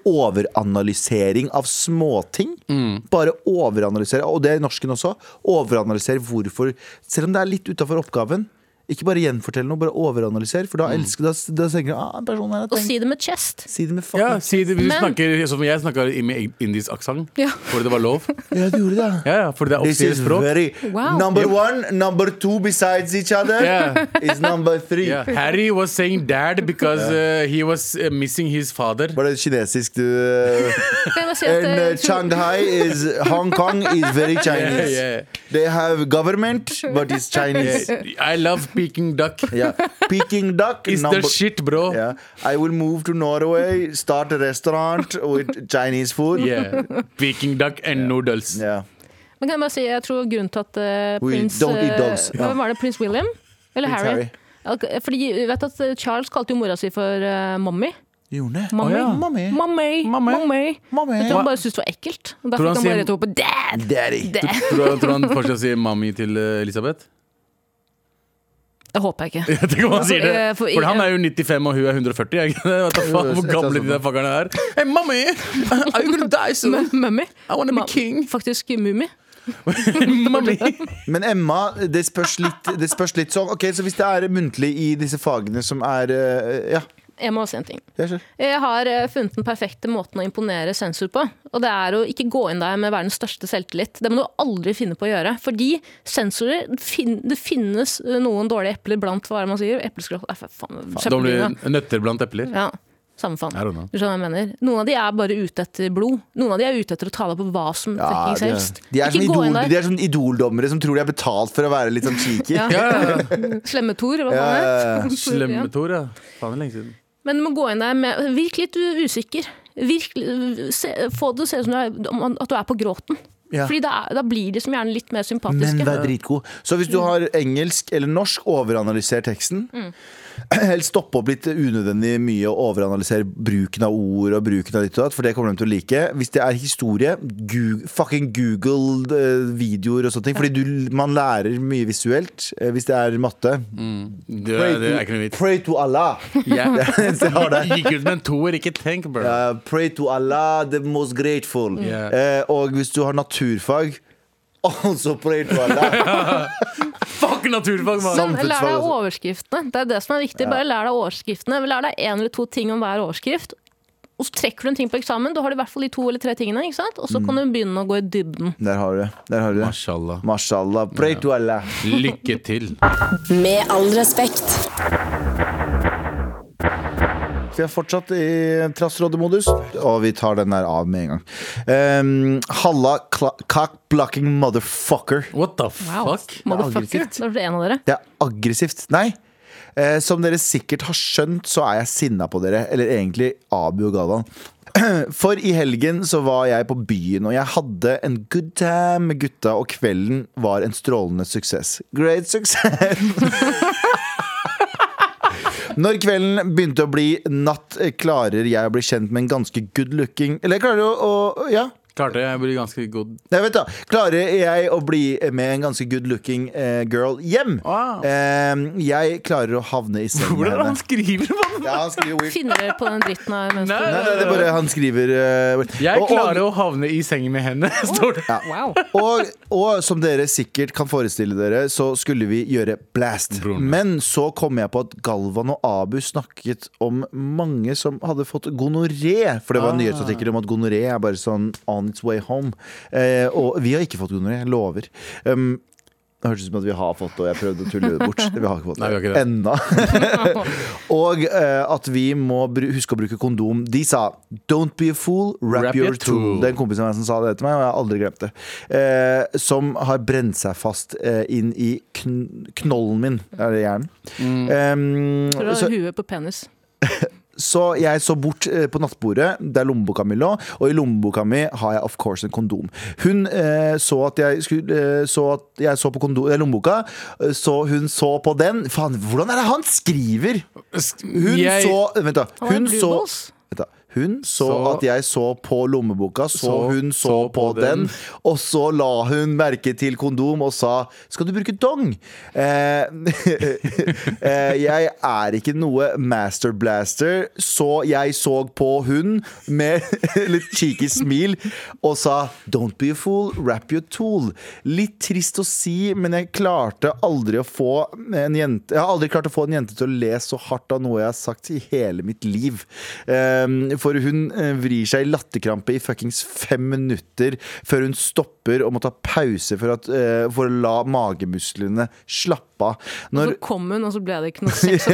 overanalysering av småting. Mm. Bare overanalysere, og det er i norsken også. Overanalysere hvorfor, selv om det er litt utafor oppgaven. Ikke bare gjenfortell noe, bare overanalysere, for Mm. da elsker da, da tenker du ah, personen her har Og tenkt. si det med chest. Si det med Ja, fucking si det, hvis du Men- snakker som jeg snakker i- med indisk aksent, Ja. fordi det var lov. Ja, du gjorde det. Ja, ja, fordi det er This offisielt is språk. very Wow. Number one, number two besides each other Yeah. is number three. Yeah. Harry was saying dad because uh, he was uh, missing his father. Var det kinesisk du eh, Kan jeg bare si at eh, And uh, det- Shanghai is Hong Kong is very Yeah, Chinese. yeah. They have government, but it's Chinese. Yeah. I love Peking duck. Peking duck Is the number. shit, bro. Yeah. I will move to Norway, start a restaurant with Chinese food. Yeah. Peking duck and noodles. Yeah. Men kan jeg bare si, jeg tror grunnen til at eh, We prins don't eat eh, dogs. Ja. Hvem var det? Prins William? Eller Prins Harry? Harry. Ok, Fordi jeg vet at eh, Charles kalte jo mora si for eh, mommy. Jone. Mommy. ja. Mommy. Mommy. Mommy. Mommy. Mommy. Jeg tror han bare syntes det var ekkelt. Tror Og derfor han kan han sier- bare rett over på dad! Daddy. Det Tror, tror han fortsatt sier mami til eh, Elisabeth? det håper jeg ikke. Jeg tenker om han sier det eh, for- For han er jo 95 og hun er 140 jeg. Vet da faen hvor gamle de der fuckerne er Hey mommy, are you gonna die soon? Men Mummy. I wanna be Ma- king Faktisk Mummi. Mommy Men Emma, det spørs litt, det spørs litt sånn. Ok, Så hvis det er muntlig i disse fagene som er eh, Ja, sånn. Jeg må si en ting. jeg skjønner. Jeg har eh, funnet den perfekte måten å imponere sensor på. Og det er å ikke gå inn der med verdens største selvtillit. Det må du aldri finne på å gjøre. Fordi sensorer fin Det finnes eh, noen dårlige epler blant hva er det man sier. Epleskroll Nei, fa- faen. Da blir Søppeldyna. det nøtter blant epler Ja. Samme faen. I don't know. Du skjønner hva jeg mener. Noen av de er bare ute etter blod. Noen av de er ute etter å ta deg på hva som Ja, fuckings de, helst. de, er Ikke sånn gå idol, inn de der. er sånn idoldommere som tror de er betalt for å være litt sånn cheeky. Ja. Ja, ja, ja. Slemme Tor, hva Ja, faen ja, ja. er det? Ja. Slemme Tor, ja Faen det er lenge siden Men du må gå inn der med Virk litt u- usikker. Virk, se, få det til å se ut som du er, om- at du er på gråten. Ja. Fordi da, er- da blir de som gjerne litt mer sympatiske. Men vær dritgod. Så hvis du har engelsk eller norsk, overanalyser teksten. Helst stoppe opp litt unødvendig mye og overanalysere bruken av ord og bruken av ditt og datt, for det kommer de til å like. Hvis det er historie, gu- fucking google eh, videoer og sånne ting. Fordi du, man lærer mye visuelt eh, hvis det er matte. Det, det er ikke noe vits pray to Allah. yeah. Gikk ut med en toer, ikke tenk bro Eh, pray to Allah, the most grateful. Yeah. Eh, og hvis du har naturfag, also pray to Allah. Fuck naturfag, man Men lær deg Samfunnsfag også. overskriftene. Det er det som er viktig. Bare lær deg overskriftene. Lær deg én eller to ting om hver overskrift. Og så trekker du en ting på eksamen. Da har du i hvert fall de to eller tre tingene. Ikke sant? Og så Mm. kan du begynne å gå i dybden. Der har du det. Der har du det. Mashallah Mashallah. Pray to Allah. Lykke til Med all respekt. Vi er fortsatt i trassrådemodus, og vi tar den der av med en gang. Ehm, Halla kla- cock-blocking motherfucker. What the Wow. fuck? Motherfucker. Da ble det en av dere. Det er aggressivt. Nei. Eh, som dere sikkert har skjønt, så er jeg sinna på dere. Eller egentlig Abu og Galvan. For i helgen så var jeg på byen, og jeg hadde en good time med gutta, og kvelden var en strålende suksess. Great success! Når kvelden begynte å bli natt, eh, klarer jeg å bli kjent med en ganske good looking Eller jeg klarer å, å ja, Klarte jeg å bli ganske god. jeg vet da, Klarer jeg å bli med en ganske good looking eh, girl hjem? Wow. Eh, jeg klarer å havne i sengen med Hvordan er det henne. han skriver, mann? Ja, han skriver weird. Finner dere på den dritten av mens Nei. du Nei, nei, det er bare han skriver eh, weird. Jeg Og- klarer å havne i sengen med henne, står det. Wow. og, og som dere sikkert kan forestille dere, så skulle vi gjøre blast. Men så kom jeg på at Galvan og Abu snakket om mange som hadde fått gonoré. Ah. For det var nyhetsartikler om at gonoré er bare sånn on its way home. Eh, og vi har ikke fått gonoré, jeg lover. Um, det høres ut som at vi har fått det, og jeg prøvde å tulle det bort. Vi har ikke fått det, Nei, vi har ikke det. ennå. og eh, at vi må bru- huske å bruke kondom. De sa 'don't be a fool, wrap, Wrap your your tool. tool'. Det er en kompis av meg som sa det til meg, og jeg har aldri glemt det. Eh, som har brent seg fast eh, inn i kn knollen min. Er det hjernen? Mm. Em, Tror du så, har huet på penis. så jeg så bort eh, på nattbordet, der lommeboka mi lå, og i lommeboka mi har jeg of course en kondom. Hun eh, så at jeg skulle eh, Så at jeg så på kondo- eh, lommeboka, eh, så hun så på den. Faen, hvordan er det han skriver?! Hun Jeg- så Vent, da. Han har Hun så blueballs. Vent da. Hun så, Så- at jeg så på lommeboka, så, Så- hun så, på, den, og så la hun merke til kondom og sa 'skal du bruke dong'? Eh, eh, jeg er ikke noe master blaster, så jeg så på hun med litt cheeky smil og sa 'don't be a fool, wrap your tool'. Litt trist å si, men jeg klarte aldri å få en jente Jeg har aldri klart å få en jente til å le så hardt av noe jeg har sagt i hele mitt liv. Ehm, For hun eh, vrir seg i latterkrampe i fuckings fem minutter før hun stopper og må ta pause for, at, eh, for å la magemusklene slappe av. Når Så kom hun, og så ble det ikke noe sex.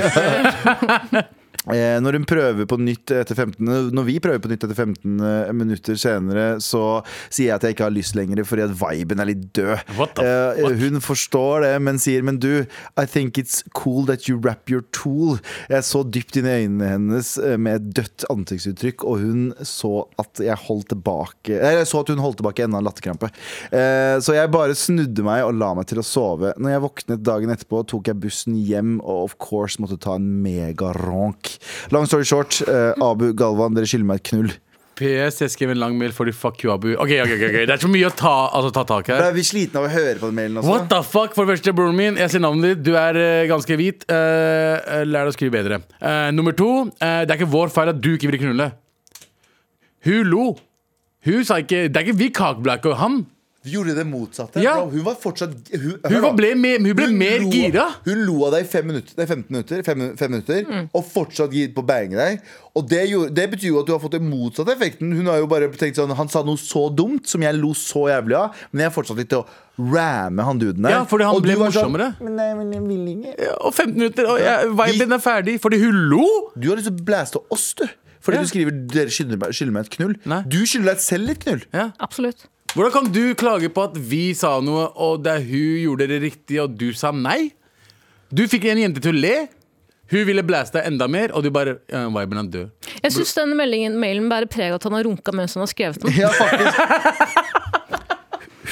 Eh, når hun prøver på nytt etter 15 Når vi prøver på nytt etter 15 minutter senere, så sier jeg at jeg ikke har lyst lenger fordi at viben er litt død. What the Eh, hun forstår det, men sier Men du, I think it's cool that you wrap your tool. Jeg så dypt inn i øynene hennes eh, med et dødt ansiktsuttrykk, og hun så at jeg holdt tilbake eh, Jeg så at hun holdt tilbake enda en latterkrampe. Eh, så jeg bare snudde meg og la meg til å sove. Når jeg våknet dagen etterpå, tok jeg bussen hjem og of course måtte ta en megaronk. Long story short, eh, Abu Galvan, dere skylder meg et knull. PS, jeg skrev en lang mail fordi fuck you, Abu. Ok, ok, ok, ok, Det er så mye å ta, altså, ta tak her. Ble vi slitne av å høre på den mailen også? What the fuck, for det første, broren min, jeg ser navnet ditt, du er eh, ganske hvit. Eh, eh, lær deg å skrive bedre. Eh, nummer to, eh, det er ikke vår feil at du ikke vil knulle. Hun lo. Hun sa ikke Det er ikke vi kakeblakke og han. Du gjorde det motsatte. Ja. Bro, hun var fortsatt Hun, Hun var- ble, mer- hun ble mer lo- gira. Hun lo av deg i fem minutter, nei, 15 minutter, fem, fem minutter og fortsatt gitt på å bange deg. Og det, gjorde, det betyr jo at du har fått den motsatte effekten. Hun har jo bare tenkt sånn Han sa noe så dumt som jeg lo så jævlig av, men jeg er fortsatt litt til å ramme han duden der. Ja, fordi han Og du ble var sånn, morsommere. men nei, men jeg vil ikke. Ja, Og 15 minutter, og jeg, viben er ferdig. Fordi hun lo. Du har lyst til å blæste oss, du. Fordi Ja. du skriver 'dere skylder meg, skylder meg et knull'. Nei. Du skylder deg selv et knull. Absolutt. Hvordan kan du klage på at vi sa noe, og det er hun gjorde det riktig, og du sa nei? Du fikk en jente til å le. Hun ville blæste deg enda mer, og du bare ja, Viben er død. Jeg syns denne meldingen, mailen bærer preg av at han har runka mens han har skrevet den. Ja, faktisk.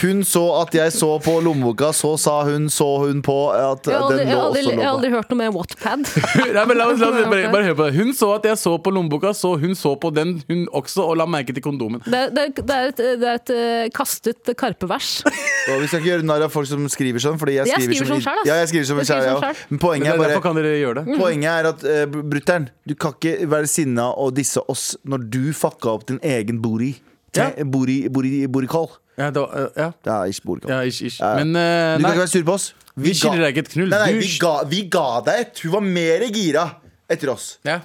Hun så at jeg så på lommeboka, så sa hun, så hun på at Jeg har aldri, den jeg lå har aldri, også jeg lå har på. aldri hørt noe mer Wattpad. Nei, men la oss, la oss bare, bare høre på det. Hun så at jeg så på lommeboka, så hun så på den hun også, og la merke til kondomen. Det er, det er, det er et, det er et eh, kastet karpevers. Og vi skal ikke gjøre narr av folk som skriver sånn, fordi jeg Jeg skriver, skriver sånn selv, ass. Ja, jeg skriver som Jeg skriver selv, som ja. selv. Men poenget er Derfor bare kan dere gjøre det. Poenget er at eh, brutter'n, du kan ikke være sinna og disse oss når du fucka opp din egen bori. Ja. Eh, Bori, bori, borikål. Ja, det var, ja, Det er ikke borikål. ja ish, ish. Ja, ja. Men eh, du kan nei, ikke være sur på oss. vi skiller deg ikke et knull. Nei, nei, Du- vi ga, vi ga deg et. Hun var mer gira etter oss. ja.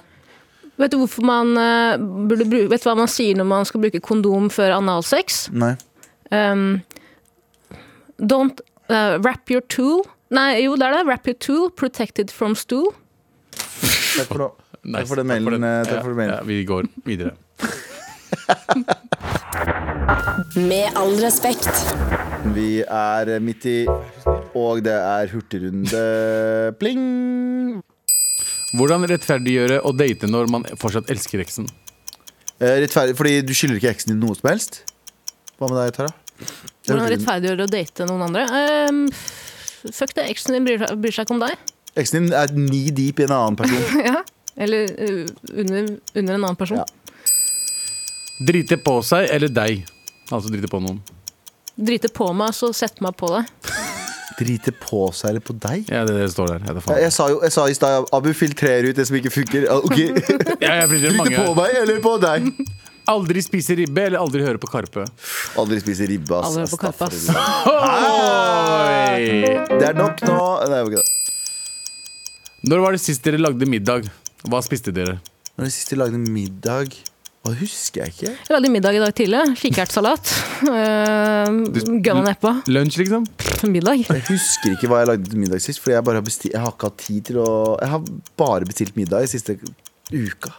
Vet du hvorfor man eh, burde bruke, Vet du hva man sier når man skal bruke kondom før analsex? Nei. Um, don't eh, wrap your tool Nei, jo, det er det. Wrap your tool protected from stool. Takk for nå. Nice. for den mailen, eh, takk Ja, for den mailen. Ja, vi går videre. Med all respekt. Vi er midt i, og det er hurtigrunde. Pling! Hvordan rettferdiggjøre å date når man fortsatt elsker eksen? Eh, Rettferdig, fordi du skylder ikke eksen din noe som helst? Hva med deg, Tara? Det er Hvordan hurtigrunde. rettferdiggjør det å date noen andre? Ehm, fuck det, eksen din bryr, bryr seg ikke om deg. Eksen din er ni deep i en annen person. ja. Eller eh, under, under en annen person. Ja. Drite på seg eller deg? Altså drite på noen. Drite på meg, så sett meg på deg. Drite på seg eller på deg? Ja, det, er det det står der. Jeg, vet Ja, faen. Jeg sa jo jeg sa i stad Abu filtrerer ut det som ikke funker. Ah, Ok, Ja, jeg blir det Drite på mange. meg eller på deg? Aldri spise ribbe eller aldri høre på Karpe. Aldri spise ribbe, ass. Aldri på Ass, kappa. ass. Oi! Det er nok nå. Nei, det var ikke det. Når var det sist dere lagde middag? Hva spiste dere? Når det siste lagde middag Hva husker jeg ikke? Jeg lagde middag i dag tidlig. Kikertsalat. Uh, Gunn og neppa. Lunsj, liksom? Middag. Jeg husker ikke hva jeg lagde til middag sist, Fordi jeg bare har bestilt Jeg har ikke hatt tid til å Jeg har bare bestilt middag i siste uka.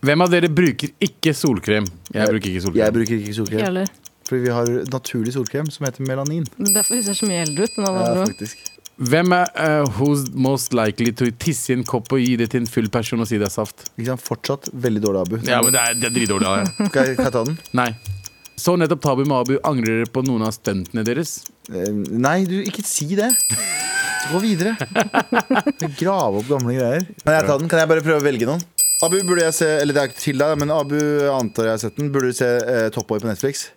Hvem av dere bruker ikke solkrem? Jeg bruker ikke Jeg solkrem. bruker ikke Ikke solkrem, heller. fordi vi har naturlig solkrem som heter melanin. Det er derfor vi ser så mye eldre ut enn alle Ja, andre. faktisk. Hvem er eh, who's most likely to tisse i en kopp og gi det til en full person og si det er saft? Ikke sant? Fortsatt veldig dårlig, Abu. Ja, men det er, det er dritdårlig av deg. Kan jeg, kan jeg ta den? Nei. Så nettopp Tabu Mabu angrer dere på noen av stuntene deres. Eh, Nei, du, ikke si det. Gå videre. Grave opp gamle greier. Kan jeg ta den? Kan jeg bare prøve å velge noen? Abu, burde jeg se Eller det er ikke til deg, men Abu jeg antar jeg har sett den. Burde du se eh, Top Boy på Netflix?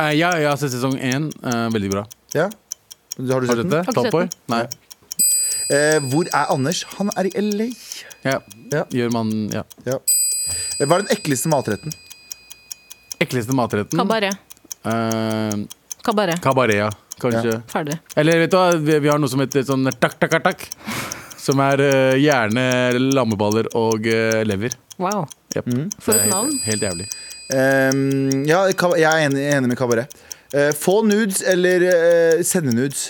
Eh, ja, jeg har sett sesong én. Eh, veldig bra. Ja? Har du Har sett du sett den? det? ikke Top sett Boy? den. Nei. Eh, hvor er Anders? Han er i LA. Ja. Ja. Gjør man ja. Ja. Eh, Hva er den ekleste matretten? Ekleste matretten? Kabaret. Eh, Kabaret. Kabaret, ja. Kanskje. Ferdig. Eller vet du hva, vi, vi har noe som heter sånn takk, takk, takk, takk. Som er eh, gjerne lammeballer og eh, lever. Wow. Jep. For Det er et navn. Helt, helt jævlig. Ehm, ja, ka- jeg er enig, enig med Kabaret. Eh, få nudes eller eh, sende nudes.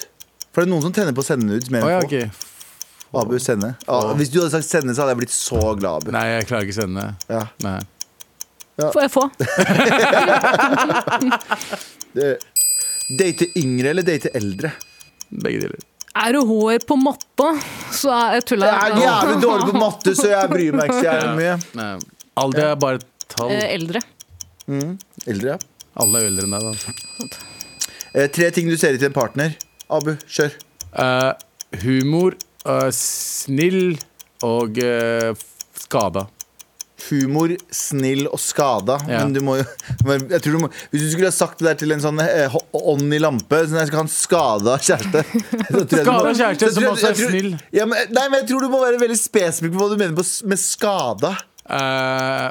For det er noen som tenner på å sende nudes. Mer Å ja, enn få. ok. Abu, sende. Ah, hvis du hadde sagt sende, så hadde jeg blitt så glad, Abu. Nei, jeg klarer ikke sende. Ja. Nei. Får jeg få? Eh, Date yngre eller date eldre? Begge deler. Er du hår på matta, så er jeg Eh, tulla. Jeg er jævlig dårlig på matte, så jeg bryr meg ikke så jævlig mye. Nei. Alder er bare et tall. Eh, Eldre. Eldre, ja. Alle er eldre enn deg, da. Eh, tre ting du ser i til en partner. Abu, kjør. Eh, humor, eh, snill og eh, f- skada. Humor, snill og skada. Ja. Men du må jo men jeg tror du må, Hvis du skulle ha sagt det der til en sånn eh, hå- ånd i lampe Sånn jeg skal ha en skada kjæreste. så tror jeg du må- Skada kjæreste så tror som jeg- også er jeg tror- snill. Ja, men, nei, men jeg tror du må være veldig spesifikk på hva du mener på, s- med skada. Eh,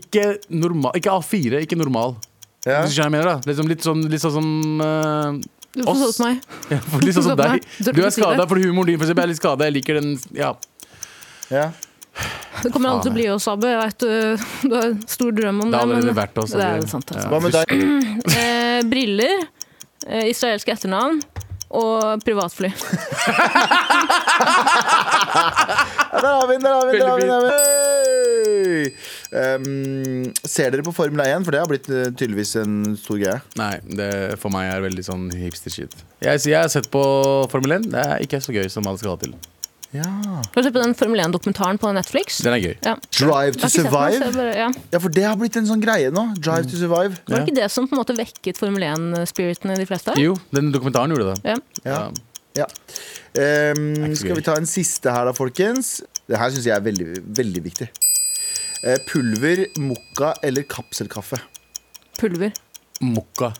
ikke normal Ikke A4, ikke normal. Ja. Hvis du skjønner hva jeg mener, da. Liksom litt sånn, litt sånn som Du eh, får oss. sånn som meg. Ja, for litt sånn som Forstått meg. deg. Tør Du ikke er si det. skada fordi humoren din for eksempel, er litt skada. Jeg liker den Ja. Ja. Det kommer alle til å bli oss, Abu. Jeg vet, du, du har en stor drøm om Det har det. allerede men- vært oss. Det er jo sant, altså. Hva med deg? Eh, briller, eh, israelsk etternavn og privatfly. Ja, Der har vi den, der har vi den! Der har vi Veldig den, der har vi den. Hey! Um, ser dere på Formel 1? For det har blitt eh, tydeligvis en stor greie. Nei, det for meg er veldig sånn hipster-shit. Jeg, jeg har sett på Formel 1. Det er ikke så gøy som alle skal ha til. Har du sett på den Formel 1-dokumentaren på Netflix? Den er gøy. Ja. Drive to Jeg har ikke sett den, så survive? jeg bare- Ja. Ja, for det har blitt en sånn greie nå. Drive to survive. Var det Ja. ikke det som på en måte vekket Formel 1-spiriten i de fleste? Jo, den dokumentaren gjorde det. Ja. Ja. Ja. Um, ikke så skal gøy. vi ta en siste her, da, folkens? Det her syns jeg er veldig, veldig viktig. Eh, Pulver, mokka eller kapselkaffe? Pulver. Mokka.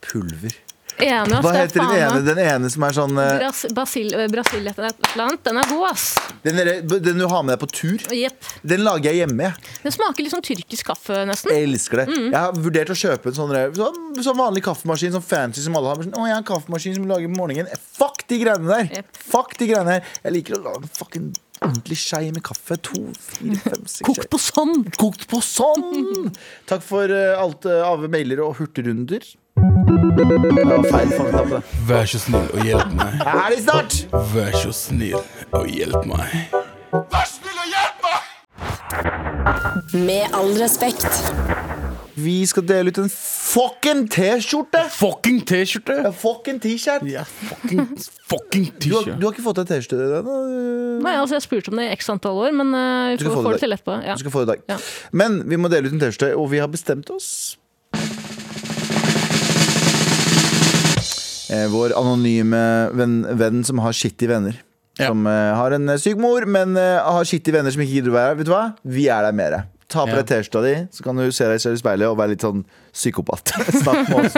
Pulver. Enig, ass. Hva det er heter den faen ene? meg- Den ene som er sånn eh, Bras Basil eh, Brasil et eller annet. Den er god, ass. Den, derre- den du har med deg på tur? Jepp. Den lager jeg hjemme, jeg. Den smaker litt sånn tyrkisk kaffe, nesten. Jeg elsker det. Mm. Jeg har vurdert å kjøpe en sånn, sånn, sånn vanlig kaffemaskin, sånn fancy som alle har. men Sånn, å, jeg har en kaffemaskin som lager på morgenen. Eh, Fuck de greiene der! Yep. Fuck de greiene her. Jeg liker å lage en fucking ordentlig skei med kaffe. To, fire, fem, seks skei. Kokt på sånn! Kokt på sånn! Takk for eh, alt eh, av mailer og hurtigrunder. Det var feil fangenapp, det. Vær så snill og hjelp meg. Er de snart? Vær så snill og hjelp meg. Vær snill Med all respekt. Vi skal dele ut en fucking T-skjorte! Fucking T-skjorte! En fucking T-skjort! Ja, fucking, fucking Du, har- T-skjorte. du har ikke fått deg T-skjorte ennå? eh? Nei, altså Jeg har spurt om det i x antall år, men eh, Du vi skal får, få det får det i til dag. etterpå. Ja. Du skal få det i dag. Ja. Men vi må dele ut en T-skjorte, og vi har bestemt oss. Eh, Vår anonyme venn, venn som har skittige venner. Ja. Som eh, har en eh, syk mor, men eh, har skittige venner som ikke gidder å være her. Vet du hva? Vi er der mere. Ta på Ja. deg T-skjorta di, så kan du se deg selv i speilet og være litt sånn psykopat. Snakk med oss.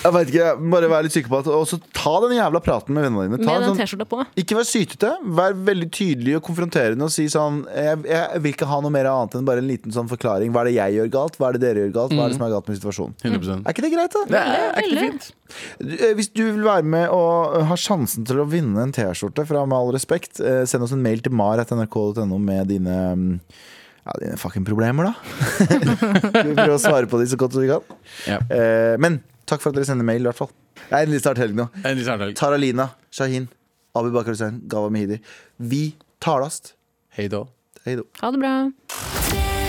Jeg vet ikke, Bare vær litt psykopat, og så ta den jævla praten med vennene dine. Ta Med en den sånn- T-skjorta på. ikke vær sytete. Vær veldig tydelig og konfronterende og si sånn jeg, jeg vil ikke ha noe mer annet enn bare en liten sånn forklaring. Hva er det jeg gjør galt? Hva er det dere gjør galt? Hva er det som er galt med situasjonen? 100 Er ikke det greit, da? Det er, er ikke det fint? Du, eh, Hvis du vil være med og eh, ha sjansen til å vinne en T-skjorte fra Med all respekt, eh, send oss en mail til mar.nrk.no med dine mm, ja, dine fucking problemer, da. Skal vi prøve å svare på de så godt vi kan? Ja. Eh, Men takk for at dere sender mail, i hvert fall. Det er endelig snart helg nå. En liten samtale. Taralina, Shahin, Abu Bakar Hussein, Gava Mehidi. Vi talast. Hei da. Hei då. Ha det bra.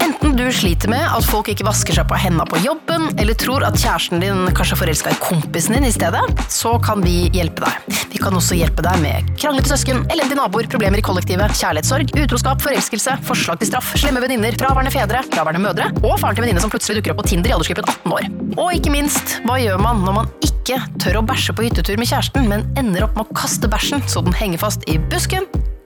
Enten du sliter med at folk ikke vasker seg på hendene på jobben, eller tror at kjæresten din kanskje er forelska i kompisen din i stedet, så kan vi hjelpe deg. Vi kan også hjelpe deg med kranglete søsken, elendige naboer, problemer i kollektivet, kjærlighetssorg, utroskap, forelskelse, forslag til straff, slemme venninner, fraværende fedre, fraværende mødre og faren til venninne som plutselig dukker opp på Tinder i aldersgruppen 18 år. Og ikke minst, hva gjør man når man ikke tør å bæsje på hyttetur med kjæresten, men ender opp med å kaste bæsjen så den henger fast i busken?